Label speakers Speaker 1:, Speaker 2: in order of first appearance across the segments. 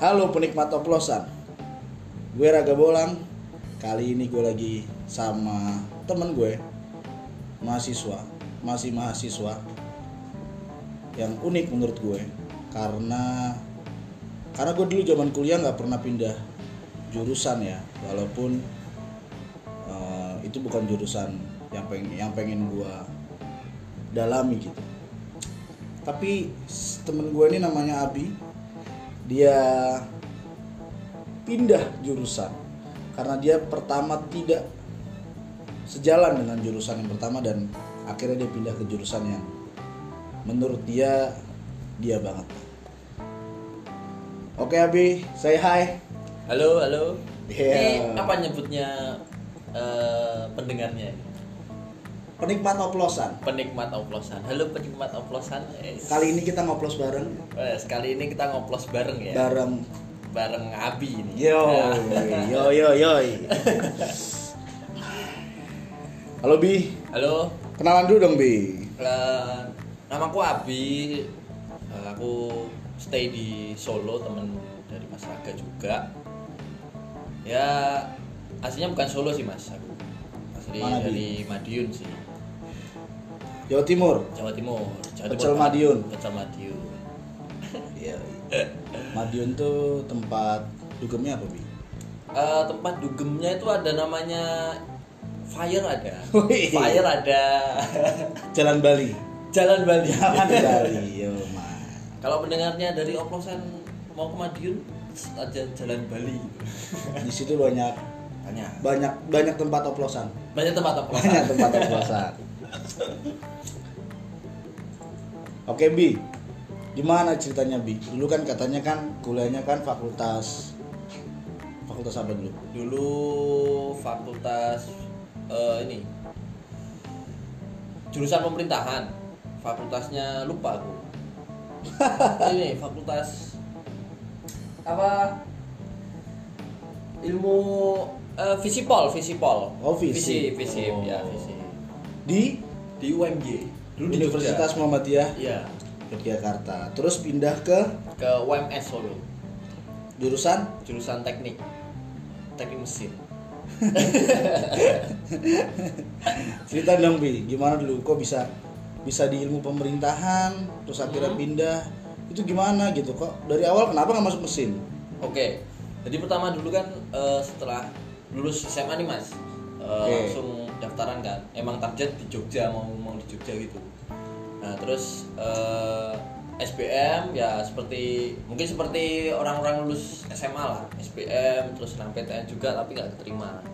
Speaker 1: Halo penikmat oplosan Gue Raga Bolang Kali ini gue lagi sama temen gue Mahasiswa Masih mahasiswa Yang unik menurut gue Karena Karena gue dulu zaman kuliah nggak pernah pindah Jurusan ya Walaupun eh, Itu bukan jurusan yang pengen, yang pengen gue Dalami gitu Tapi s- temen gue ini namanya Abi dia pindah jurusan karena dia pertama tidak sejalan dengan jurusan yang pertama dan akhirnya dia pindah ke jurusan yang menurut dia dia banget. Oke Abi, say hi.
Speaker 2: Halo, halo.
Speaker 1: Yeah.
Speaker 2: Ini apa nyebutnya eh, pendengarnya?
Speaker 1: Penikmat oplosan.
Speaker 2: Penikmat oplosan. Halo penikmat oplosan. Eh,
Speaker 1: Kali ini kita ngoplos bareng,
Speaker 2: eh, sekali ini kita ngoplos bareng ya.
Speaker 1: bareng Ya.
Speaker 2: bareng Abi
Speaker 1: Nah.
Speaker 2: ini.
Speaker 1: yo,
Speaker 2: Nah,
Speaker 1: yo yo yo. Halo Bi,
Speaker 2: halo.
Speaker 1: kenalan dulu dong Bi.
Speaker 2: eh, namaku Abi. Eh, aku stay di Solo, temen dari Mas Raga juga. Ya, aslinya bukan Solo sih, Mas. Aku asli
Speaker 1: Mana, Bi?
Speaker 2: dari Madiun sih.
Speaker 1: Jawa Timur.
Speaker 2: Jawa Timur. Jawa
Speaker 1: Pecel
Speaker 2: Pak.
Speaker 1: Madiun.
Speaker 2: Pecel Madiun.
Speaker 1: Iya. Madiun tuh tempat dugemnya apa bi?
Speaker 2: Eh, tempat dugemnya itu ada namanya Fire ada.
Speaker 1: Wih.
Speaker 2: Fire ada.
Speaker 1: Jalan Bali.
Speaker 2: Jalan Bali.
Speaker 1: Jalan Bali, yo man.
Speaker 2: Iya. Kalau pendengarnya dari oplosan mau ke Madiun aja Jalan Bali.
Speaker 1: Di situ banyak
Speaker 2: Banyak.
Speaker 1: banyak banyak tempat oplosan.
Speaker 2: Banyak tempat oplosan.
Speaker 1: Banyak tempat oplosan. Oke bi, gimana ceritanya bi? Dulu kan katanya kan kuliahnya kan fakultas fakultas apa dulu?
Speaker 2: Dulu fakultas eh, ini jurusan pemerintahan. Fakultasnya lupa aku. ini fakultas apa? Ilmu eh, visipol, visipol.
Speaker 1: Oh, visip.
Speaker 2: Visip, visip,
Speaker 1: Oh.
Speaker 2: ya, visip.
Speaker 1: Di
Speaker 2: Di UMG. Dulu di
Speaker 1: Universitas
Speaker 2: Jogja.
Speaker 1: Muhammadiyah
Speaker 2: Iya,
Speaker 1: Yogyakarta. Terus pindah ke
Speaker 2: ke UMS Solo.
Speaker 1: jurusan
Speaker 2: jurusan teknik teknik mesin
Speaker 1: cerita dong bi gimana dulu kok bisa bisa di ilmu pemerintahan terus akhirnya
Speaker 2: Hmm.
Speaker 1: pindah itu gimana gitu kok dari awal kenapa nggak masuk mesin
Speaker 2: oke jadi pertama dulu kan eh, setelah lulus SMA nih mas eh,
Speaker 1: Oke.
Speaker 2: langsung daftaran kan emang target di Jogja mau mau di Jogja gitu nah terus eh, SBM ya seperti mungkin seperti orang-orang lulus SMA lah SBM terus senang PTN juga tapi nggak keterima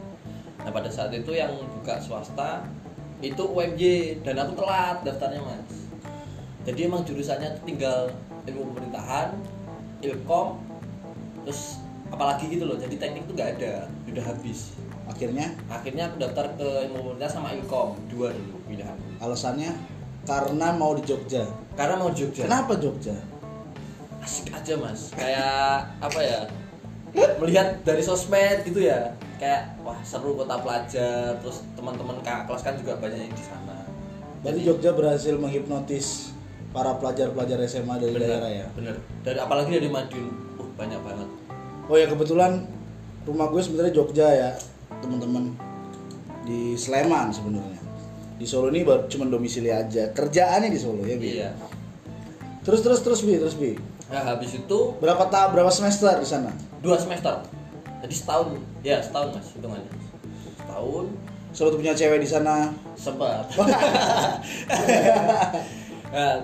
Speaker 2: nah pada saat itu yang buka swasta itu UMY dan aku telat daftarnya mas jadi emang jurusannya tuh tinggal ilmu pemerintahan ilkom terus apalagi gitu loh jadi teknik tuh nggak ada udah habis
Speaker 1: akhirnya
Speaker 2: akhirnya aku daftar ke ilmu pemerintahan sama ilkom dua dulu pilihan
Speaker 1: alasannya karena mau di Jogja
Speaker 2: karena mau Jogja
Speaker 1: kenapa Jogja
Speaker 2: asik aja mas kayak apa ya melihat dari sosmed gitu ya kayak wah seru kota pelajar terus teman-teman kakak kelas kan juga banyak yang di sana
Speaker 1: berarti Jogja berhasil menghipnotis para pelajar-pelajar SMA dari
Speaker 2: bener
Speaker 1: daerah ya
Speaker 2: bener dari apalagi dari Madiun uh banyak banget
Speaker 1: oh ya kebetulan rumah gue sebenarnya Jogja ya teman-teman di Sleman sebenarnya di Solo ini baru cuma domisili aja kerjaannya di Solo ya bi
Speaker 2: iya
Speaker 1: terus terus terus bi terus bi
Speaker 2: nah habis itu
Speaker 1: Berapa tahap, berapa semester di sana?
Speaker 2: dua semester jadi setahun ya setahun mas hitungannya setahun
Speaker 1: Selalu punya cewek di sana.
Speaker 2: sempat nah, eh,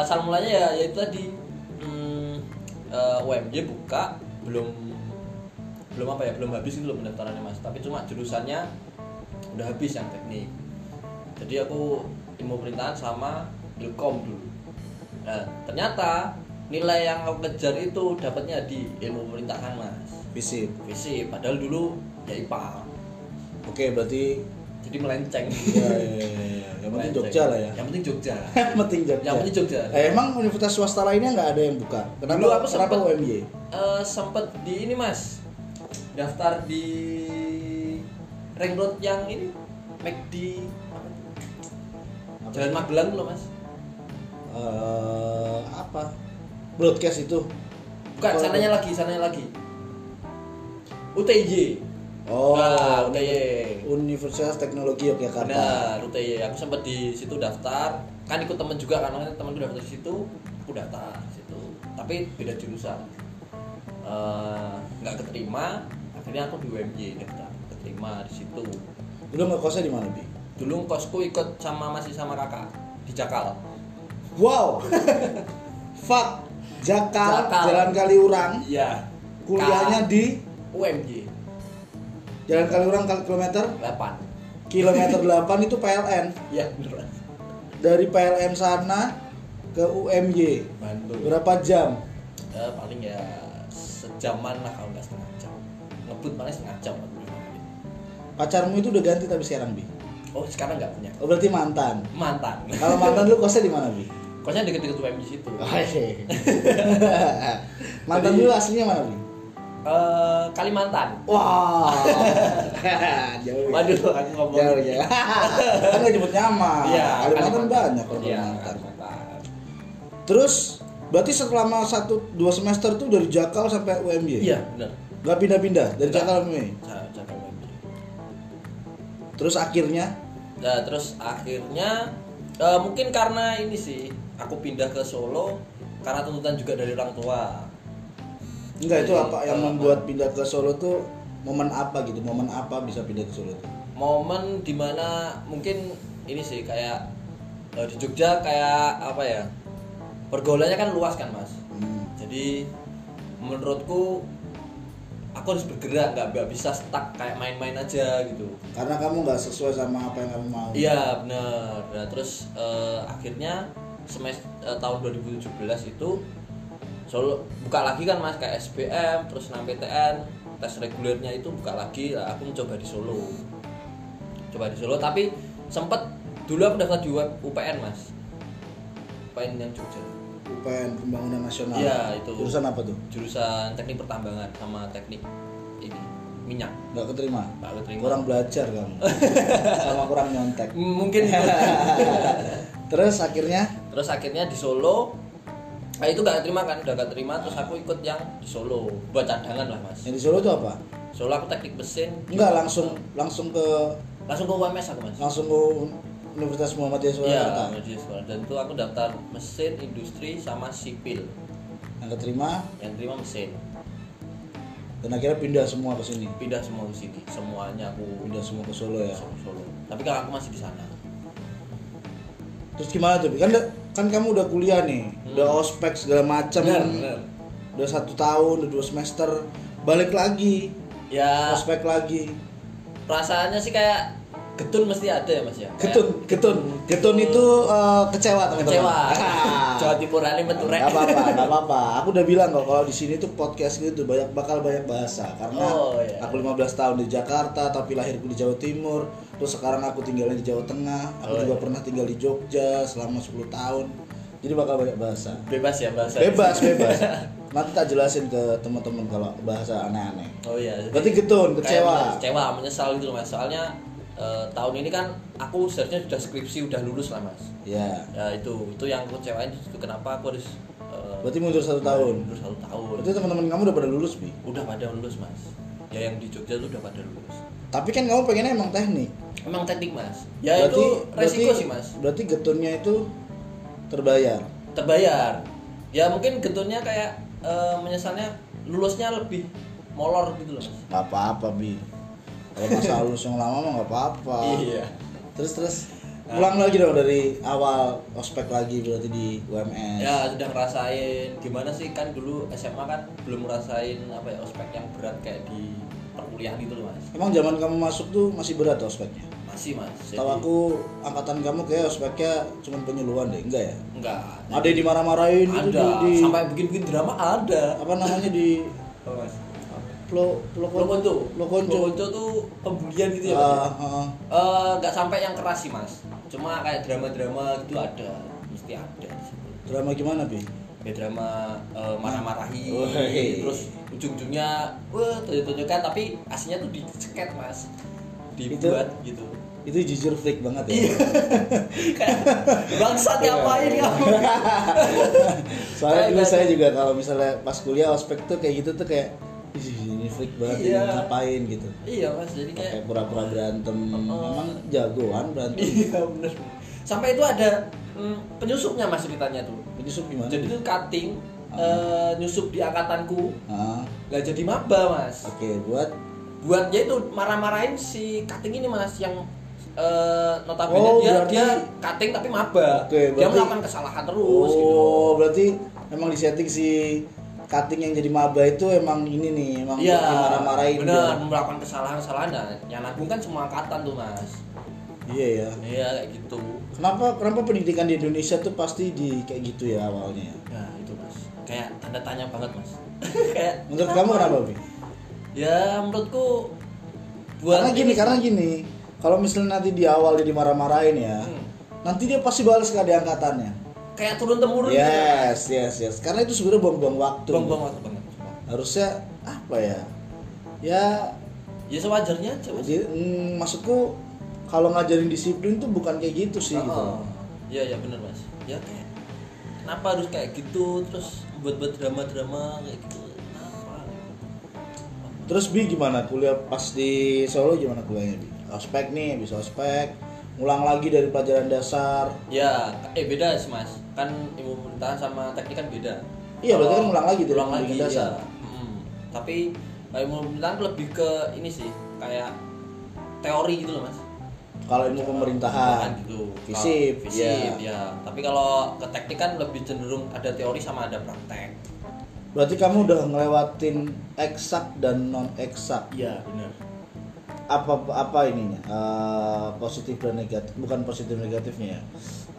Speaker 2: asal mulanya ya yaitu tadi hmm, eh, UMY buka belum belum apa ya belum habis itu loh pendaftarannya mas tapi cuma jurusannya udah habis yang teknik jadi aku ilmu pemerintahan sama ilkom dulu nah ternyata nilai yang aku kejar itu dapatnya di ilmu pemerintahan mas
Speaker 1: Fisip.
Speaker 2: visi padahal dulu ya IPA
Speaker 1: Oke, berarti
Speaker 2: jadi melenceng
Speaker 1: ya, ya, ya, ya. yang penting
Speaker 2: Melenceng.
Speaker 1: Jogja lah ya.
Speaker 2: yang penting Jogja
Speaker 1: Yang penting Jogja.
Speaker 2: yang penting Jogja
Speaker 1: Eh, emang universitas swasta lainnya nggak ada yang buka? Kenapa?
Speaker 2: Dulu aku
Speaker 1: kenapa
Speaker 2: sempet-
Speaker 1: UMY?
Speaker 2: Eh, sempet di ini mas daftar di ring road yang ini McD apa itu?
Speaker 1: Apa?
Speaker 2: Jalan Magelang loh mas
Speaker 1: Eh, apa? Broadcast itu
Speaker 2: bukan sananya lagi sananya lagi UTY
Speaker 1: Oh,
Speaker 2: nah,
Speaker 1: Uni-
Speaker 2: UTY
Speaker 1: Universitas Teknologi Yogyakarta.
Speaker 2: benar UTY aku sempat di situ daftar kan ikut temen juga kan makanya temen gue daftar di situ aku daftar di situ tapi beda jurusan Eh, nggak keterima akhirnya aku di UMY daftar keterima di situ
Speaker 1: Dulu ngekosnya di mana, Bi?
Speaker 2: dulu kosku ikut sama masih sama kakak di Jakal
Speaker 1: Wow. Fuck. Jakal,
Speaker 2: Jakal.
Speaker 1: Jalan Kaliurang.
Speaker 2: iya
Speaker 1: Kuliahnya di
Speaker 2: UMY
Speaker 1: Jalan Kaliurang kal- kilometer
Speaker 2: 8
Speaker 1: kilometer 8 itu PLN.
Speaker 2: iya beneran
Speaker 1: Dari PLN sana ke UMY
Speaker 2: Bandung
Speaker 1: berapa jam?
Speaker 2: Eh, paling ya sejaman lah kalau nggak setengah jam ngebut paling setengah jam 45 menit.
Speaker 1: Pacarmu itu udah ganti tapi sekarang, Bi.
Speaker 2: oh sekarang nggak punya
Speaker 1: Oh, berarti mantan.
Speaker 2: mantan
Speaker 1: Kalau mantan lu kosnya di mana, Bi?
Speaker 2: kosnya deket-deket UMI di situ
Speaker 1: Oh, Hehehe. mantan
Speaker 2: Jadi-
Speaker 1: lu aslinya mana, Bi?
Speaker 2: Eh, Kalimantan
Speaker 1: Wah. Jauh. ya?
Speaker 2: waduh aku ngomong
Speaker 1: Jauh ya. kan nggak nyebut nyaman.
Speaker 2: Iya,
Speaker 1: Kalimantan banyak kalau
Speaker 2: Iya,
Speaker 1: Kalimantan.
Speaker 2: Kalimantan.
Speaker 1: Terus berarti selama satu dua semester tuh dari Jakal sampai UMY.
Speaker 2: iya benar
Speaker 1: Gak pindah-pindah dari
Speaker 2: Nggak.
Speaker 1: Jakal ke UMY.
Speaker 2: Jakarta UMI
Speaker 1: Terus akhirnya
Speaker 2: nah, terus akhirnya eh, mungkin karena ini sih aku pindah ke Solo karena tuntutan juga dari orang tua
Speaker 1: enggak itu
Speaker 2: Jadi, eh,
Speaker 1: apa yang
Speaker 2: apa?
Speaker 1: membuat pindah ke Solo tuh momen apa gitu? Momen apa bisa pindah ke Solo tuh?
Speaker 2: momen dimana mungkin ini sih kayak eh, di Jogja kayak apa ya pergaulannya kan luas kan mas
Speaker 1: Hmm.
Speaker 2: jadi menurutku aku harus bergerak nggak nggak bisa stuck kayak main-main aja gitu
Speaker 1: Karena kamu nggak sesuai sama apa yang kamu mau.
Speaker 2: iya bener nah, terus eh, akhirnya semester tahun 2017 itu Solo buka lagi kan mas kayak SBM terus 6 PTN tes regulernya itu buka lagi lah aku mencoba di Solo coba di Solo tapi sempet dulu aku daftar di web UPN mas UPN yang Jogja
Speaker 1: UPN Pembangunan Nasional.
Speaker 2: Iya, itu.
Speaker 1: Jurusan apa tuh?
Speaker 2: jurusan teknik pertambangan sama teknik ini minyak
Speaker 1: Nggak keterima.
Speaker 2: Nggak keterima.
Speaker 1: Kurang belajar kamu. sama kurang nyontek.
Speaker 2: M- mungkin itu.
Speaker 1: Terus akhirnya
Speaker 2: terus akhirnya di Solo nah itu gak terima kan udah gak terima terus aku ikut yang di Solo buat cadangan lah mas
Speaker 1: yang di Solo tuh apa?
Speaker 2: Solo aku teknik mesin
Speaker 1: Enggak langsung langsung ke
Speaker 2: langsung ke UMS aku mas
Speaker 1: langsung ke Universitas Muhammadiyah
Speaker 2: iya
Speaker 1: Surakarta.
Speaker 2: di sekolah dan itu aku daftar mesin industri sama sipil
Speaker 1: Yang keterima
Speaker 2: yang terima mesin
Speaker 1: dan akhirnya pindah semua ke sini.
Speaker 2: pindah semua ke sini semuanya aku pindah
Speaker 1: Pindah semua ke Solo ya.
Speaker 2: ke Solo tapi kan aku masih di sana
Speaker 1: Terus gimana tuh? Bi? Kan kan kamu udah kuliah nih,
Speaker 2: Hmm.
Speaker 1: udah ospek segala macam.
Speaker 2: Bener, bener.
Speaker 1: Udah satu tahun, udah dua semester, balik lagi,
Speaker 2: ya
Speaker 1: ospek lagi.
Speaker 2: perasaannya sih kayak getun mesti ada ya mas ya Kayak
Speaker 1: Ketun, ketun, ketun itu eh, kecewa teman-teman.
Speaker 2: kecewa
Speaker 1: Ah.
Speaker 2: Jawa Timur ini meturek
Speaker 1: Gak apa-apa, gak apa-apa. Aku udah bilang kok kalau di sini tuh podcast gitu banyak bakal banyak bahasa karena
Speaker 2: Oh, iya.
Speaker 1: aku 15 tahun di Jakarta tapi lahirku di Jawa Timur. Terus sekarang aku tinggalnya di Jawa Tengah. Aku
Speaker 2: Oh,
Speaker 1: juga
Speaker 2: iya.
Speaker 1: pernah tinggal di Jogja selama 10 tahun. Jadi bakal banyak bahasa.
Speaker 2: bebas ya bahasa
Speaker 1: Bebas, bebas. Nanti tak jelasin ke teman-teman kalau bahasa aneh-aneh.
Speaker 2: oh iya jadi
Speaker 1: Berarti getun,
Speaker 2: kayak
Speaker 1: kecewa.
Speaker 2: kecewa menyesal gitu loh mas soalnya eh, tahun ini kan aku seharusnya sudah skripsi udah lulus lah mas
Speaker 1: Ya.
Speaker 2: ya itu itu yang aku kecewain itu kenapa aku harus eh,
Speaker 1: Berarti mundur satu tahun.
Speaker 2: mundur satu tahun
Speaker 1: Berarti teman-teman kamu udah pada lulus, Bi.
Speaker 2: udah pada lulus mas ya yang di Jogja tuh udah pada lulus
Speaker 1: Tapi kan kamu pengennya emang teknik.
Speaker 2: emang teknik mas ya itu resiko
Speaker 1: berarti-
Speaker 2: sih mas
Speaker 1: Berarti geturnya itu terbayar.
Speaker 2: terbayar ya mungkin getutnya kayak eh, menyesalnya lulusnya lebih molor gitu loh mas
Speaker 1: Gak apa-apa bi. Kalau masa lulus yang lama mah gak apa-apa.
Speaker 2: Iya.
Speaker 1: Terus terus
Speaker 2: Ah.
Speaker 1: ulang lagi dong dari awal ospek lagi berarti di UMS.
Speaker 2: ya sudah ngerasain gimana sih kan dulu SMA kan belum ngerasain apa ya ospek yang berat kayak di perkuliahan gitu loh mas
Speaker 1: Emang zaman kamu masuk tuh masih berat ospeknya.
Speaker 2: masih mas
Speaker 1: Tahu aku angkatan kamu kayak ospeknya cuma penyuluhan deh, enggak ya?
Speaker 2: enggak
Speaker 1: Ada yang dimarah-marahin gitu
Speaker 2: ada
Speaker 1: di, di-
Speaker 2: sampai bikin bikin drama ada
Speaker 1: apa namanya di
Speaker 2: oh, mas
Speaker 1: lo lo
Speaker 2: lo konco
Speaker 1: lo konco.
Speaker 2: tuh pembulian gitu ya mas
Speaker 1: Ah, ah.
Speaker 2: Eh, nggak sampai yang keras sih mas cuma kayak drama-drama gitu ada mesti ada di situ
Speaker 1: drama gimana bi?
Speaker 2: ya drama eh, marah-marahi
Speaker 1: Oh, Woi.
Speaker 2: terus ujung-ujungnya wah tunjuk-tunjukkan tapi aslinya tuh diceket mas dibuat gitu
Speaker 1: itu jujur fake banget ya
Speaker 2: Iya. Kayak, bangsat ya, ngapain kamu
Speaker 1: soalnya
Speaker 2: Kayak
Speaker 1: dulu
Speaker 2: gak
Speaker 1: saya
Speaker 2: ada-
Speaker 1: juga kalau misalnya pas kuliah ospek tuh kayak gitu tuh kayak "Ih, ini fake banget
Speaker 2: Iya.
Speaker 1: ini ngapain gitu
Speaker 2: iya mas jadi kayak
Speaker 1: kayak pura-pura berantem
Speaker 2: Oh.
Speaker 1: memang jagoan berantem
Speaker 2: iya bener sampai itu ada mm, penyusupnya mas ceritanya tuh
Speaker 1: penyusup gimana
Speaker 2: jadi itu cutting eh, nyusup di angkatanku
Speaker 1: Ah,
Speaker 2: lah jadi maba mas
Speaker 1: oke buat
Speaker 2: buat dia itu marah-marahin si cutting ini mas yang eh, notabene
Speaker 1: Oh,
Speaker 2: dia
Speaker 1: berarti-
Speaker 2: dia cutting tapi maba
Speaker 1: Oke,
Speaker 2: dia
Speaker 1: berarti-
Speaker 2: melakukan kesalahan
Speaker 1: oh
Speaker 2: terus gitu
Speaker 1: berarti emang di setting si cutting yang jadi maba itu emang ini nih emang
Speaker 2: Iya,
Speaker 1: buat dimarah-marahin
Speaker 2: benar melakukan kesalahan-kesalahan nah, yang nanggung kan semua angkatan tuh mas
Speaker 1: dia. iya ya
Speaker 2: iya kayak gitu
Speaker 1: kenapa kenapa pendidikan di Indonesia tuh pasti di kayak gitu ya awalnya
Speaker 2: nah itu mas kayak tanda tanya banget mas kayak
Speaker 1: menurut kamu kenapa Bi?
Speaker 2: ya menurutku buat
Speaker 1: karena gini karena gini kalau misalnya nanti di awal dia dimarah-marahin ya
Speaker 2: Hmm.
Speaker 1: nanti dia pasti balas ke adik angkatannya
Speaker 2: kayak turun temurun
Speaker 1: yes yes yes karena itu sebenarnya buang-buang waktu
Speaker 2: gitu bang bang waktu banget sumpah.
Speaker 1: harusnya apa ya ya
Speaker 2: ya sewajarnya aja mas
Speaker 1: di- mm, maksudku kalau ngajarin disiplin tuh bukan kayak gitu sih gitu
Speaker 2: Oh, iya ya benar mas ya kayak kenapa harus kayak gitu terus buat buat drama drama kayak gitu kenapa
Speaker 1: terus bi gimana kuliah pas di Solo gimana kuliahnya bi ospek nih bisa ospek ngulang lagi dari pelajaran dasar
Speaker 2: ya eh beda sih mas kan ilmu pemerintahan sama teknik kan beda
Speaker 1: Iya, berarti kan
Speaker 2: Kalau
Speaker 1: ngulang lagi dari
Speaker 2: ngulang lagi
Speaker 1: pendidikan dasar.
Speaker 2: ya. Mm. tapi eh, ilmu pemerintahan lebih ke ini sih kayak teori gitu loh mas
Speaker 1: kalau ilmu
Speaker 2: Pemerintahan
Speaker 1: pemerintahan
Speaker 2: gitu
Speaker 1: Fisip,
Speaker 2: Kalau
Speaker 1: ya.
Speaker 2: fisip ya tapi kalau ke teknik kan lebih cenderung ada teori sama ada praktek
Speaker 1: berarti kamu udah ngelewatin eksak dan non eksak
Speaker 2: iya benar
Speaker 1: apa apa ininya Eh, positif dan negatif bukan positif negatifnya ya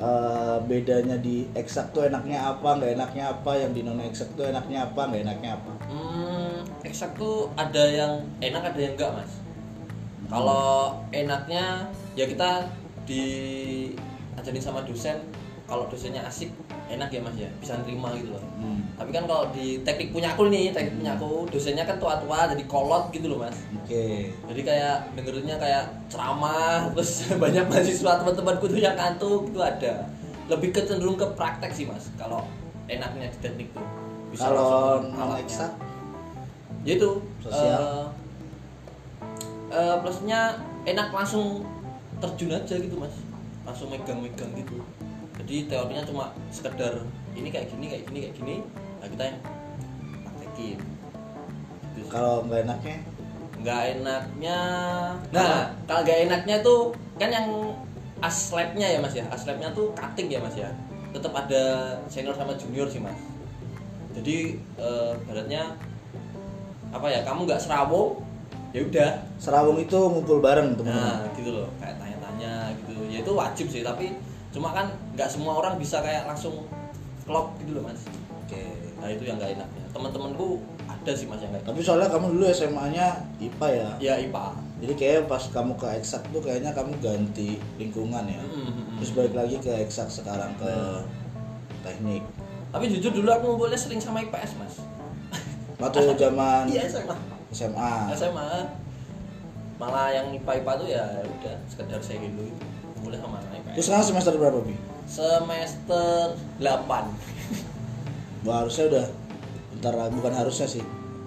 Speaker 1: Eh, bedanya di eksak tuh enaknya apa nggak enaknya apa yang di non eksak tuh enaknya apa nggak enaknya apa
Speaker 2: Hmm, eksak tuh ada yang enak ada yang enggak mas. Kalau enaknya ya kita diajarin sama dosen. Kalau dosennya asik enak ya mas ya bisa nerima gitu loh.
Speaker 1: Hmm,
Speaker 2: Tapi kan kalau di teknik punya aku nih teknik punya aku dosennya kan tua-tua jadi kolot gitu loh mas.
Speaker 1: oke
Speaker 2: Jadi kayak dengerinnya kayak ceramah terus banyak mahasiswa teman-temanku tuh yang kantuk itu ada. Lebih ke cenderung ke praktek sih mas. Kalau enaknya di teknik tuh bisa
Speaker 1: kalau
Speaker 2: langsung
Speaker 1: non
Speaker 2: alatnya
Speaker 1: eksak
Speaker 2: yaitu
Speaker 1: Sosial.
Speaker 2: eh, eh, plusnya enak langsung terjun aja gitu mas langsung megang-megang gitu jadi teorinya cuma sekedar ini kayak gini kayak gini kayak gini nah kita yang praktekin Gitu sih.
Speaker 1: kalau nggak enaknya
Speaker 2: nggak enaknya nah kalau nggak enaknya tuh kan yang aslepnya ya mas ya aslepnya tuh cutting ya mas ya tetap ada senior sama junior sih mas jadi eh, baratnya apa ya kamu nggak serawo ya udah
Speaker 1: serawung itu ngumpul bareng teman-teman
Speaker 2: nah gitu loh kayak tanya-tanya gitu ya itu wajib sih tapi cuma kan nggak semua orang bisa kayak langsung klop gitu loh mas
Speaker 1: oke
Speaker 2: nah itu yang nggak enaknya teman-temanku ada sih mas yang kayak gitu.
Speaker 1: tapi soalnya kamu dulu SMA-nya IPA ya
Speaker 2: ya ipa
Speaker 1: jadi kayak pas kamu ke eksak tuh kayaknya kamu ganti lingkungan ya
Speaker 2: Mm-hmm.
Speaker 1: terus
Speaker 2: Hmm.
Speaker 1: balik lagi ke eksak sekarang ke teknik
Speaker 2: Tapi jujur dulu aku ngumpulnya sering sama IPS mas.
Speaker 1: waktu zaman
Speaker 2: Iya SMA.
Speaker 1: SMA
Speaker 2: SMA. Malah yang IPA IPA tuh ya udah sekedar saya dulu ngumpulnya sama anak
Speaker 1: Terus
Speaker 2: IPS.
Speaker 1: sekarang semester berapa, Bi?
Speaker 2: Semester 8
Speaker 1: Wah, harusnya udah bentar lagi- bukan harusnya sih.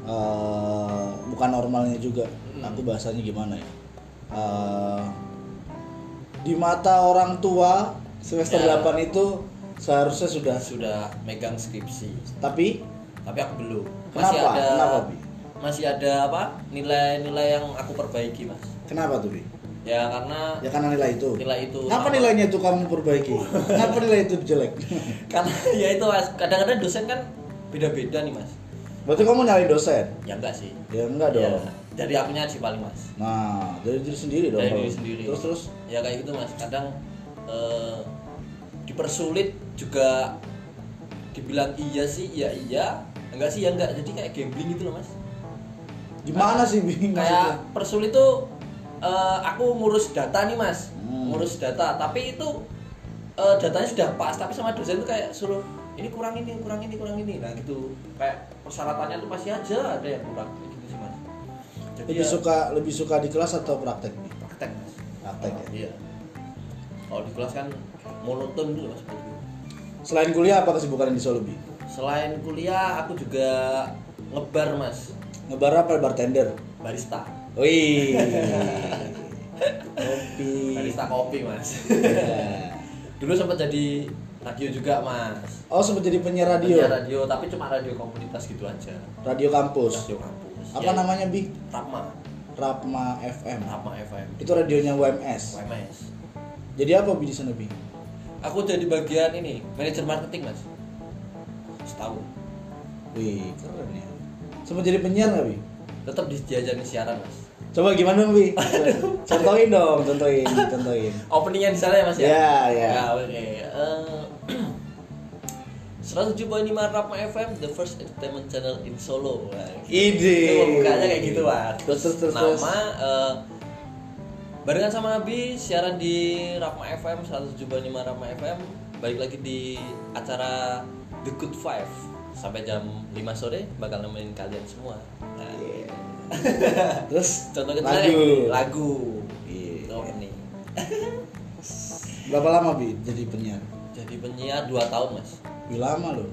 Speaker 1: Eh, bukan normalnya juga.
Speaker 2: Hmm.
Speaker 1: Aku bahasanya gimana ya? Eh, di mata orang tua semester
Speaker 2: Ya.
Speaker 1: 8 itu seharusnya sudah
Speaker 2: sudah megang skripsi.
Speaker 1: tapi
Speaker 2: Tapi aku belum. Masih
Speaker 1: kenapa?
Speaker 2: ada
Speaker 1: Kenapa, Bi?
Speaker 2: masih ada apa nilai-nilai yang aku perbaiki mas.
Speaker 1: Kenapa tuh, Bi?
Speaker 2: Ya karena
Speaker 1: Ya karena nilai itu.
Speaker 2: nilai itu.
Speaker 1: Kenapa
Speaker 2: sama-
Speaker 1: nilainya itu kamu perbaiki? Kenapa nilai itu jelek?
Speaker 2: Karena ya itu mas. Kadang-kadang dosen kan beda-beda nih mas.
Speaker 1: Berarti kamu nyalain dosen?
Speaker 2: Ya enggak sih.
Speaker 1: Ya enggak
Speaker 2: Ya,
Speaker 1: dong.
Speaker 2: dari akunya sih paling mas.
Speaker 1: Nah, dari diri sendiri dong.
Speaker 2: dari diri
Speaker 1: kalau-
Speaker 2: sendiri
Speaker 1: Terus terus
Speaker 2: ya kayak gitu mas kadang eh, dipersulit juga dibilang iya sih iya iya enggak sih ya enggak jadi kayak gambling gitu loh mas
Speaker 1: gimana sih bingung
Speaker 2: kayak persulit tuh eh, aku ngurus data nih mas
Speaker 1: Hmm.
Speaker 2: ngurus data tapi itu eh, datanya sudah pas tapi sama dosen tuh kayak suruh ini kurang ini kurang ini kurang ini nah gitu kayak persyaratannya tuh masih aja ada yang kurang Kayak gitu sih mas jadi
Speaker 1: lebih
Speaker 2: ya,
Speaker 1: suka lebih suka di kelas atau praktek nih
Speaker 2: praktek mas
Speaker 1: praktek ya
Speaker 2: iya kalau di kelas kan monoton gitu mas seperti itu.
Speaker 1: selain kuliah apa kesibukan yang di Solubi
Speaker 2: selain kuliah aku juga ngebar mas
Speaker 1: ngebar apa bartender
Speaker 2: barista
Speaker 1: wih kopi
Speaker 2: barista kopi mas
Speaker 1: Ya.
Speaker 2: dulu sempat jadi radio juga mas
Speaker 1: oh sempat jadi penyiar radio
Speaker 2: Penyiar radio tapi cuma radio komunitas gitu aja
Speaker 1: radio kampus
Speaker 2: radio kampus Ya, Iya.
Speaker 1: apa namanya bi
Speaker 2: Rapma
Speaker 1: Rapma FM
Speaker 2: Rapma FM
Speaker 1: itu radionya UMS
Speaker 2: WMS
Speaker 1: jadi apa bi di sana bi
Speaker 2: aku jadi bagian ini manajer marketing mas setahun
Speaker 1: wih keren ya sempat jadi penyiar nggak bi
Speaker 2: tetap dijajani siaran mas
Speaker 1: coba gimana dong bi contohin dong contohin contohin
Speaker 2: openingnya di sana ya mas ya
Speaker 1: Ya, ya.
Speaker 2: Ya, oke Eh, 107.5 Rapma FM the first entertainment channel in Solo Wah, gitu.
Speaker 1: Ide.
Speaker 2: itu bukanya kayak gitu mas
Speaker 1: Terus, terus, terus,
Speaker 2: nama
Speaker 1: terus.
Speaker 2: eh, barengan sama Abi siaran di Rapma FM 107.5 Rapma FM balik lagi di acara The Good Five sampai jam 5 sore bakal nemenin kalian semua nah,
Speaker 1: Iya. terus
Speaker 2: contoh kecil
Speaker 1: lagu
Speaker 2: lagu
Speaker 1: Iya.
Speaker 2: Itu opening.
Speaker 1: berapa lama bi jadi penyiar
Speaker 2: jadi penyiar 2 tahun mas
Speaker 1: bi lama loh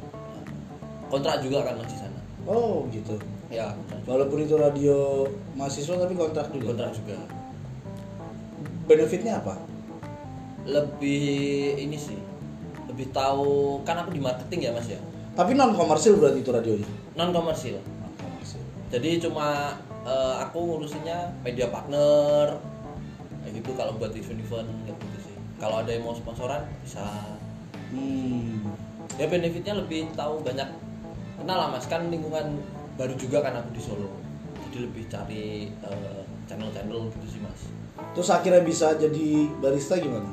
Speaker 2: kontrak juga kan mas di sana
Speaker 1: oh gitu
Speaker 2: ya kontrak juga.
Speaker 1: walaupun itu radio mahasiswa tapi kontrak juga
Speaker 2: kontrak juga
Speaker 1: benefitnya apa
Speaker 2: lebih ini sih lebih tahu kan aku di marketing ya mas ya
Speaker 1: tapi non komersil berarti itu radionya
Speaker 2: non komersil
Speaker 1: non komersil
Speaker 2: jadi cuma eh, aku ngurusinnya media partner kayak gitu kalau buat event-event kayak gitu sih kalau ada yang mau sponsoran bisa
Speaker 1: hmm
Speaker 2: ya benefitnya lebih tahu banyak kenal lah mas kan lingkungan baru juga kan aku di Solo jadi lebih cari eh, channel-channel gitu sih mas
Speaker 1: terus akhirnya bisa jadi barista gimana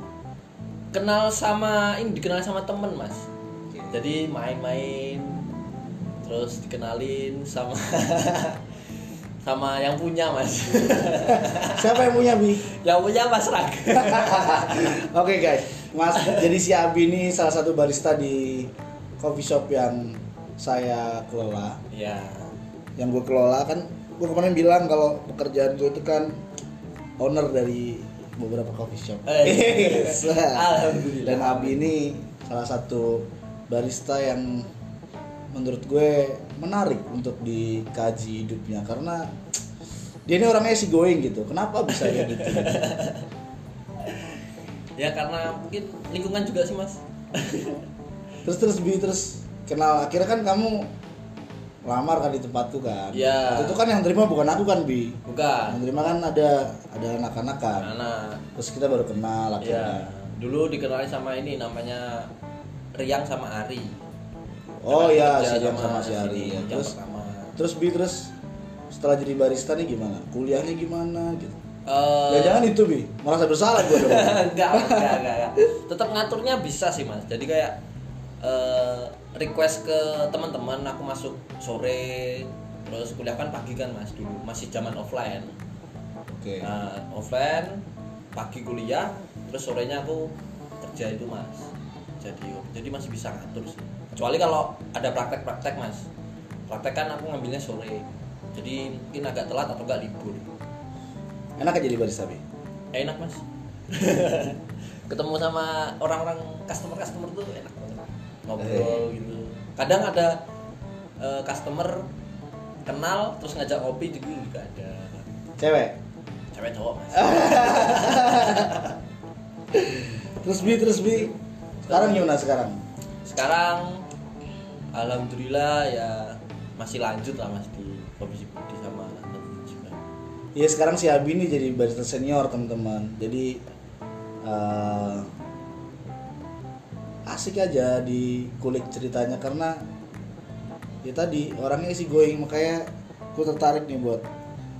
Speaker 2: kenal sama ini dikenal sama temen mas jadi main-main terus dikenalin sama sama yang punya mas
Speaker 1: siapa yang punya bi
Speaker 2: yang punya mas Rag
Speaker 1: Oke guys, Mas, jadi si Abi ini salah satu barista di coffee shop yang saya kelola.
Speaker 2: ya
Speaker 1: Yang gue kelola kan, gue kemarin bilang kalau pekerjaan gue itu kan owner dari beberapa coffee shop.
Speaker 2: Eh,
Speaker 1: Yes.
Speaker 2: Alhamdulillah.
Speaker 1: Dan Abi ini salah satu barista yang menurut gue menarik untuk dikaji hidupnya karena dia ini orangnya easy going gitu. Kenapa bisa kayak gitu?
Speaker 2: ya karena mungkin lingkungan juga sih mas
Speaker 1: terus terus bi terus kenal akhirnya kan kamu lamar kan di tempatku kan
Speaker 2: Iya.
Speaker 1: Waktu itu kan yang terima bukan aku kan bi yang
Speaker 2: bukan
Speaker 1: terima kan ada ada anak-anak kan
Speaker 2: anak
Speaker 1: terus kita baru kenal
Speaker 2: ya
Speaker 1: akhirnya
Speaker 2: dulu dikenalin sama ini namanya Riang sama Ari
Speaker 1: oh iya
Speaker 2: Kerja
Speaker 1: si Jam sama si Ari
Speaker 2: ini,
Speaker 1: ya.
Speaker 2: yang
Speaker 1: terus
Speaker 2: pertama
Speaker 1: terus bi terus setelah jadi barista nih gimana kuliahnya gimana gitu
Speaker 2: Eh,
Speaker 1: ya jangan itu bi merasa bersalah gue dong
Speaker 2: enggak, enggak, enggak, enggak. Tetap ngaturnya bisa sih mas. Jadi kayak eh, request ke teman-teman, aku masuk sore, terus kuliah kan pagi kan mas dulu, masih zaman offline.
Speaker 1: oke
Speaker 2: Nah, offline, pagi kuliah, terus sorenya aku kerja itu mas. Jadi, jadi masih bisa ngatur sih. Kecuali kalau ada praktek-praktek mas. Praktek kan aku ngambilnya sore, jadi mungkin agak telat atau enggak libur.
Speaker 1: enak aja jadi barista bi
Speaker 2: enak mas ketemu sama orang-orang customer customer tuh enak banget ngobrol gitu kadang ada eh, customer kenal terus ngajak kopi juga juga ada
Speaker 1: cewek
Speaker 2: cewek cowok mas
Speaker 1: terus bi terus bi sekarang gimana sekarang
Speaker 2: sekarang alhamdulillah ya masih lanjut lah mas di komisi budi sama manajemen.
Speaker 1: Iya sekarang si Abi ini jadi barista senior teman-teman. Jadi eh, asik aja di kulik ceritanya karena ya tadi orangnya sih going makanya gue tertarik nih buat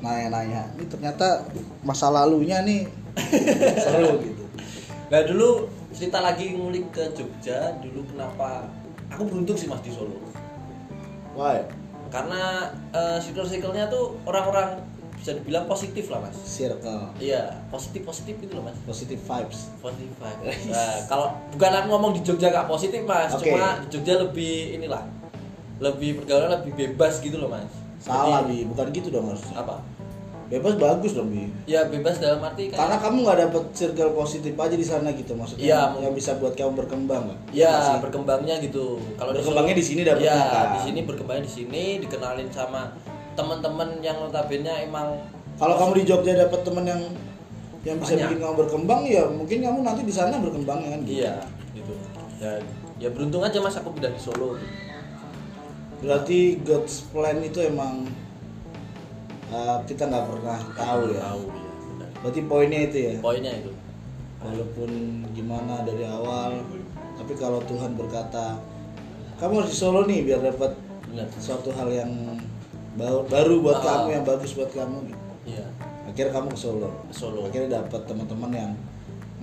Speaker 1: nanya-nanya. Ini ternyata masa lalunya nih seru gitu.
Speaker 2: nah dulu cerita lagi ngulik ke Jogja dulu kenapa aku beruntung sih mas di Solo
Speaker 1: Wah,
Speaker 2: karena eh, circle-circle-nya tuh orang-orang bisa dibilang positif lah mas
Speaker 1: circle
Speaker 2: iya positif positif gitu loh mas
Speaker 1: eh, positive vibes.
Speaker 2: positif Pak. nah, kalau bukan aku ngomong di Jogja gak positif mas
Speaker 1: Oke.
Speaker 2: cuma di Jogja lebih inilah lebih pergaulan lebih bebas gitu loh mas
Speaker 1: Salah
Speaker 2: Jadi,
Speaker 1: Abi, bukan gitu dong harusnya.
Speaker 2: apa
Speaker 1: bebas bagus dong Bi.
Speaker 2: ya bebas dalam arti
Speaker 1: karena
Speaker 2: kayak
Speaker 1: kamu nggak dapet circle positif aja di sana gitu maksudnya
Speaker 2: Iya.
Speaker 1: yang bisa buat kamu berkembang nggak?
Speaker 2: ya
Speaker 1: Masih.
Speaker 2: berkembangnya gitu kalau
Speaker 1: Berkembangnya di sini dapetnya, kan?
Speaker 2: ya di sini berkembangnya di sini dikenalin sama teman-teman yang notabene emang
Speaker 1: kalau kamu di Jogja dapet temen yang yang bisa
Speaker 2: Banyak.
Speaker 1: bikin kamu berkembang ya mungkin kamu nanti di sana berkembang ya kan gitu.
Speaker 2: iya gitu ya ya beruntung aja mas aku pindah di Solo
Speaker 1: berarti God's plan itu emang uh, kita nggak pernah tahu ya
Speaker 2: tahu ya benar.
Speaker 1: berarti poinnya itu ya
Speaker 2: poinnya itu
Speaker 1: walaupun gimana dari awal tapi kalau Tuhan berkata kamu harus di Solo nih biar dapat
Speaker 2: benar
Speaker 1: suatu hal yang baru, baru buat kamu
Speaker 2: Ah.
Speaker 1: yang bagus buat kamu gitu.
Speaker 2: iya
Speaker 1: akhirnya kamu ke Solo
Speaker 2: ke Solo
Speaker 1: akhirnya dapat teman-teman yang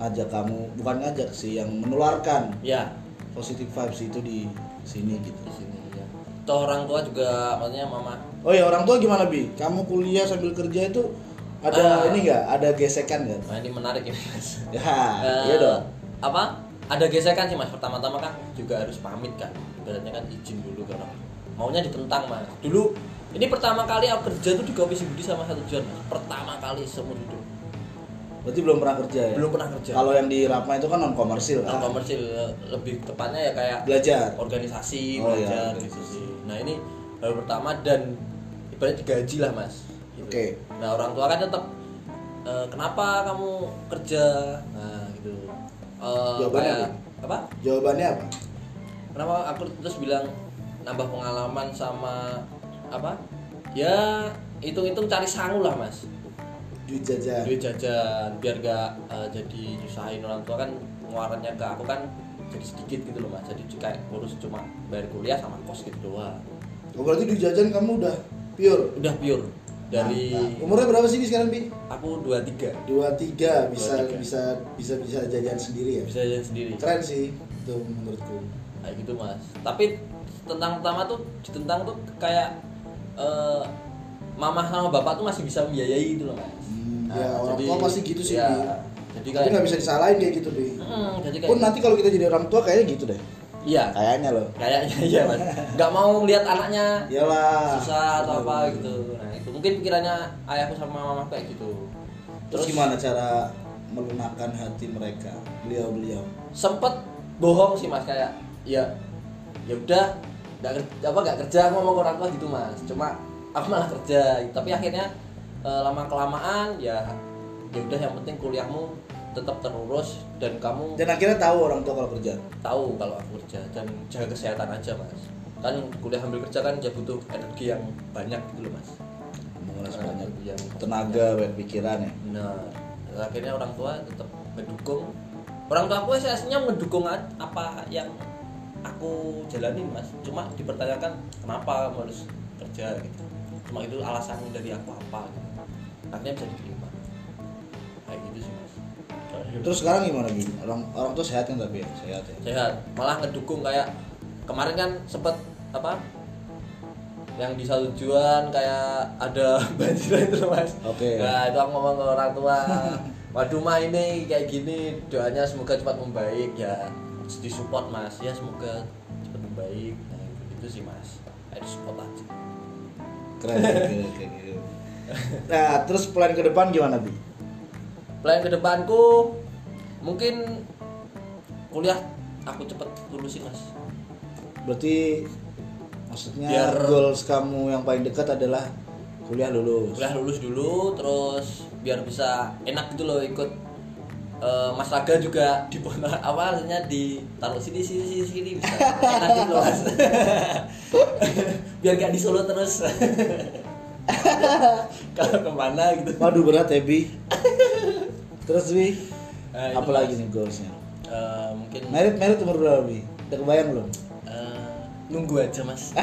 Speaker 1: ngajak kamu bukan ngajak sih yang menularkan
Speaker 2: ya
Speaker 1: positive vibes itu di sini gitu
Speaker 2: di sini ya toh orang tua juga maksudnya mama
Speaker 1: oh ya orang tua gimana bi kamu kuliah sambil kerja itu ada
Speaker 2: Ah.
Speaker 1: ini nggak ada gesekan nggak
Speaker 2: nah ini menarik ini mas
Speaker 1: ya
Speaker 2: Eh,
Speaker 1: iya dong
Speaker 2: apa ada gesekan sih mas pertama-tama kan juga harus pamit kan ibaratnya kan izin dulu ke orang maunya ditentang mas dulu ini pertama kali aku kerja tuh di kopi Budi sama satu John mas pertama kali seumur hidup
Speaker 1: berarti belum pernah kerja ya
Speaker 2: belum pernah kerja
Speaker 1: kalau yang di Rapma itu kan non komersil
Speaker 2: non
Speaker 1: kan
Speaker 2: komersil eh, lebih tepatnya ya kayak
Speaker 1: belajar
Speaker 2: organisasi
Speaker 1: Oh,
Speaker 2: belajar
Speaker 1: iya.
Speaker 2: gitu sih nah ini hal pertama dan ibaratnya digaji lah mas gitu.
Speaker 1: Oke.
Speaker 2: nah orang tua kan tetap e, kenapa kamu kerja nah gitu E,
Speaker 1: Jawabannya
Speaker 2: kayak- apa
Speaker 1: jawabannya apa
Speaker 2: kenapa aku terus bilang nambah pengalaman sama apa ya hitung-hitung cari sangu lah mas
Speaker 1: duit jajan
Speaker 2: duit jajan biar gak eh, jadi nyusahin orang tua kan pengeluarannya ke aku kan jadi sedikit gitu loh mas jadi kayak urus cuma bayar kuliah sama kos gitu doang
Speaker 1: oh, berarti duit jajan kamu udah pure
Speaker 2: udah pure dari
Speaker 1: Mantap. umurnya berapa sih Bi, sekarang bi
Speaker 2: aku 23
Speaker 1: dua tiga bisa
Speaker 2: 23.
Speaker 1: bisa bisa bisa jajan sendiri ya
Speaker 2: bisa jajan sendiri
Speaker 1: keren sih itu menurutku
Speaker 2: kayak gitu mas tapi tentang pertama tuh ditentang tuh kayak eh, mamah sama bapak tuh masih bisa membiayai gitu loh mas
Speaker 1: Hmm,
Speaker 2: Nah,
Speaker 1: ya orang
Speaker 2: jadi-
Speaker 1: tua pasti gitu sih
Speaker 2: ya,
Speaker 1: Bi.
Speaker 2: jadi
Speaker 1: tapi
Speaker 2: kayak
Speaker 1: nggak bisa disalahin kayak gitu bi
Speaker 2: Mm, jadi kayak
Speaker 1: pun nanti kalau kita jadi orang tua kayaknya gitu deh
Speaker 2: iya
Speaker 1: kayaknya loh
Speaker 2: kayaknya iya mas nggak mau lihat anaknya
Speaker 1: iyalah
Speaker 2: susah atau apa gitu nah itu mungkin pikirannya ayahku sama mama kayak gitu
Speaker 1: terus gimana cara melunakkan hati mereka beliau beliau
Speaker 2: sempet bohong sih mas kayak ya ya udah nggak ker- apa nggak kerja ngomong ke orang tua gitu mas cuma aku malah kerja gitu. tapi akhirnya lama kelamaan ya ya udah yang penting kuliahmu tetap terurus dan kamu
Speaker 1: dan akhirnya tahu orang tua kalau kerja
Speaker 2: tahu kalau aku kerja dan jaga kesehatan aja mas kan kuliah ambil kerja kan ya butuh energi yang banyak gitu loh mas
Speaker 1: menguras
Speaker 2: Nah,
Speaker 1: banyak
Speaker 2: yang
Speaker 1: tenaga dan pikiran ya
Speaker 2: Benar. Akhirnya orang tua tetap mendukung. Orang tua aku aslinya mendukung a- apa yang aku jalanin mas. Cuma dipertanyakan kenapa kamu harus kerja gitu. Cuma itu alasan dari aku apa. Gitu. Akhirnya bisa diterima. Kayak gitu sih mas.
Speaker 1: terus sekarang gimana bi orang orang tua sehat kan tapi ya sehat ya
Speaker 2: sehat. Malah ngedukung kayak kemarin kan sempet apa yang di satu tujuan kayak ada banjir itu loh, mas
Speaker 1: Oke.
Speaker 2: nah itu aku ngomong ke orang tua waduh ma ini kayak gini doanya semoga cepat membaik ya disupport mas ya semoga cepat membaik nah, itu sih mas kayak disupport aja
Speaker 1: keren keren, keren, keren. nah terus plan ke depan gimana bi
Speaker 2: plan ke depanku mungkin kuliah aku cepet lulus sih mas
Speaker 1: berarti maksudnya
Speaker 2: Biar-
Speaker 1: goals kamu yang paling dekat adalah kuliah lulus
Speaker 2: kuliah lulus dulu terus biar bisa enak gitu loh ikut eh, Mas Raga juga di apa artinya ditaruh sini sini sini sini bisa enak gitu loh Mas. biar gak di Solo terus kalau kemana gitu
Speaker 1: waduh berat ya bi terus bi
Speaker 2: Eh, itu,
Speaker 1: apalagi nih goalsnya
Speaker 2: Eh, mungkin
Speaker 1: merit merit umur berapa bi udah kebayang belum
Speaker 2: eh, nunggu aja mas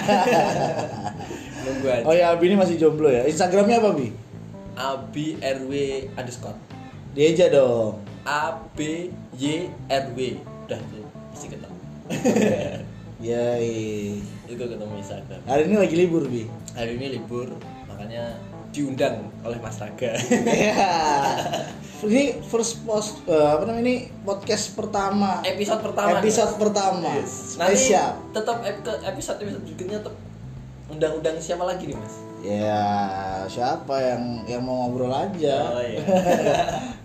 Speaker 2: nunggu aja
Speaker 1: oh ya abi ini masih jomblo ya instagramnya apa bi
Speaker 2: Abi RW underscore
Speaker 1: dia aja dong
Speaker 2: A B Y R W udah tuh pasti ketemu
Speaker 1: yai
Speaker 2: itu ketemu Instagram
Speaker 1: hari ini lagi libur bi
Speaker 2: hari ini libur makanya diundang oleh Mas Raga
Speaker 1: Ya. ini first post eh, apa namanya ini podcast pertama
Speaker 2: episode Eh, pertama
Speaker 1: episode pertama
Speaker 2: Yes. nanti
Speaker 1: spesial
Speaker 2: tetap episode episode berikutnya tetap undang-undang siapa lagi nih Mas
Speaker 1: ya siapa yang yang mau ngobrol aja
Speaker 2: Oh, iya.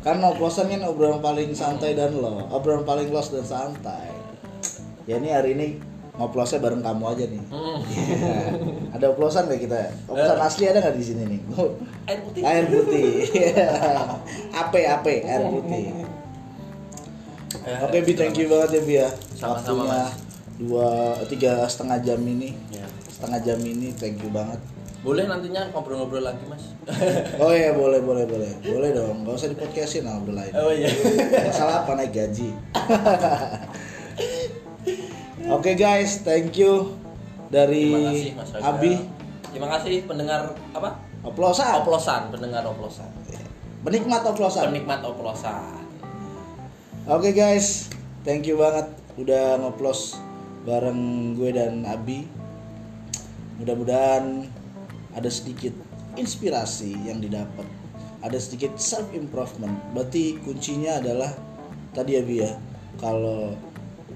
Speaker 1: kan oplosan kan obrolan paling santai dan lo obrolan paling los dan santai ya ini hari ini ngoplosnya bareng kamu aja nih Iya.
Speaker 2: Hmm.
Speaker 1: ada oplosan gak kita oplosan asli ada nggak di sini nih
Speaker 2: Air putih.
Speaker 1: air putih AP AP air putih
Speaker 2: Eh,
Speaker 1: oke bi thank you banget ya bi ya waktunya
Speaker 2: Sama-sama, Mas.
Speaker 1: dua tiga setengah jam ini
Speaker 2: Ya.
Speaker 1: setengah jam ini thank you banget
Speaker 2: Boleh nantinya ngobrol-ngobrol lagi, Mas.
Speaker 1: oh iya boleh boleh boleh boleh dong nggak usah di podcastin lah lain
Speaker 2: oh iya.
Speaker 1: Masalah apa naik gaji? Oke guys, thank you dari
Speaker 2: Terima kasih, Mas Raja.
Speaker 1: Abi
Speaker 2: Terima kasih pendengar apa?
Speaker 1: oplosan,
Speaker 2: Oplosan, pendengar oplosan.
Speaker 1: penikmat oplosan.
Speaker 2: Penikmat oplosan.
Speaker 1: Oke guys, thank you banget udah ngoplos bareng gue dan Abi. Mudah-mudahan ada sedikit inspirasi yang didapat, ada sedikit self improvement. Berarti kuncinya adalah tadi Abi ya, kalau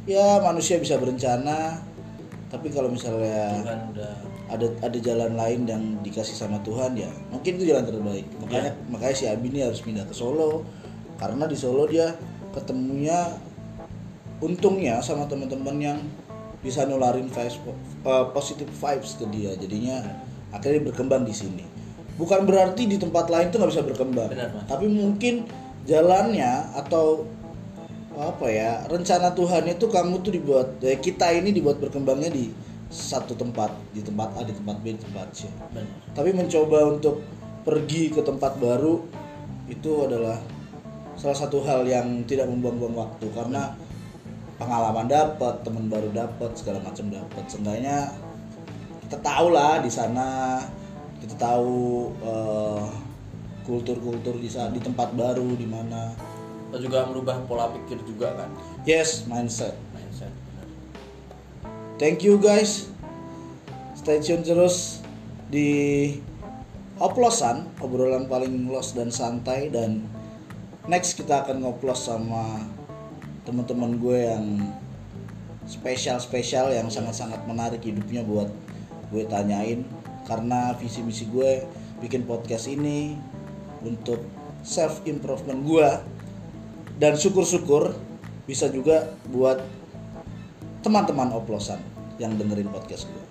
Speaker 1: ya manusia bisa berencana, tapi kalau misalnya
Speaker 2: Tuhan kan udah
Speaker 1: ada ada jalan lain yang dikasih sama Tuhan ya mungkin itu jalan terbaik makanya
Speaker 2: Ya.
Speaker 1: makanya si Abi ini harus pindah ke Solo karena di Solo dia ketemunya untungnya sama teman-teman yang bisa nularin vibes po- eh, positive vibes ke dia jadinya akhirnya dia berkembang di sini bukan berarti di tempat lain tuh nggak bisa berkembang
Speaker 2: Benar, Mas.
Speaker 1: tapi mungkin jalannya atau apa ya rencana Tuhan itu kamu tuh dibuat eh, kita ini dibuat berkembangnya di satu tempat di tempat A di tempat B di tempat C
Speaker 2: benar.
Speaker 1: tapi mencoba untuk pergi ke tempat baru itu adalah salah satu hal yang tidak membuang-buang waktu karena pengalaman dapat teman baru dapat segala macam dapat seenggaknya kita tahu lah di sana kita tahu eh, kultur-kultur di saat di tempat baru di mana
Speaker 2: Atau juga merubah pola pikir juga kan.
Speaker 1: yes mindset
Speaker 2: Mindset. benar.
Speaker 1: Thank you guys. Stay tune terus di oplosan obrolan paling los dan santai dan next kita akan ngoplos sama teman-teman gue yang spesial spesial yang sangat-sangat menarik hidupnya buat gue tanyain karena visi misi gue bikin podcast ini untuk self improvement gue dan syukur-syukur bisa juga buat teman-teman oplosan yang dengerin podcast gue.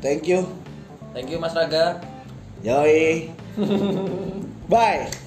Speaker 1: Thank you.
Speaker 2: Thank you Mas Raga.
Speaker 1: Yoi. Bye.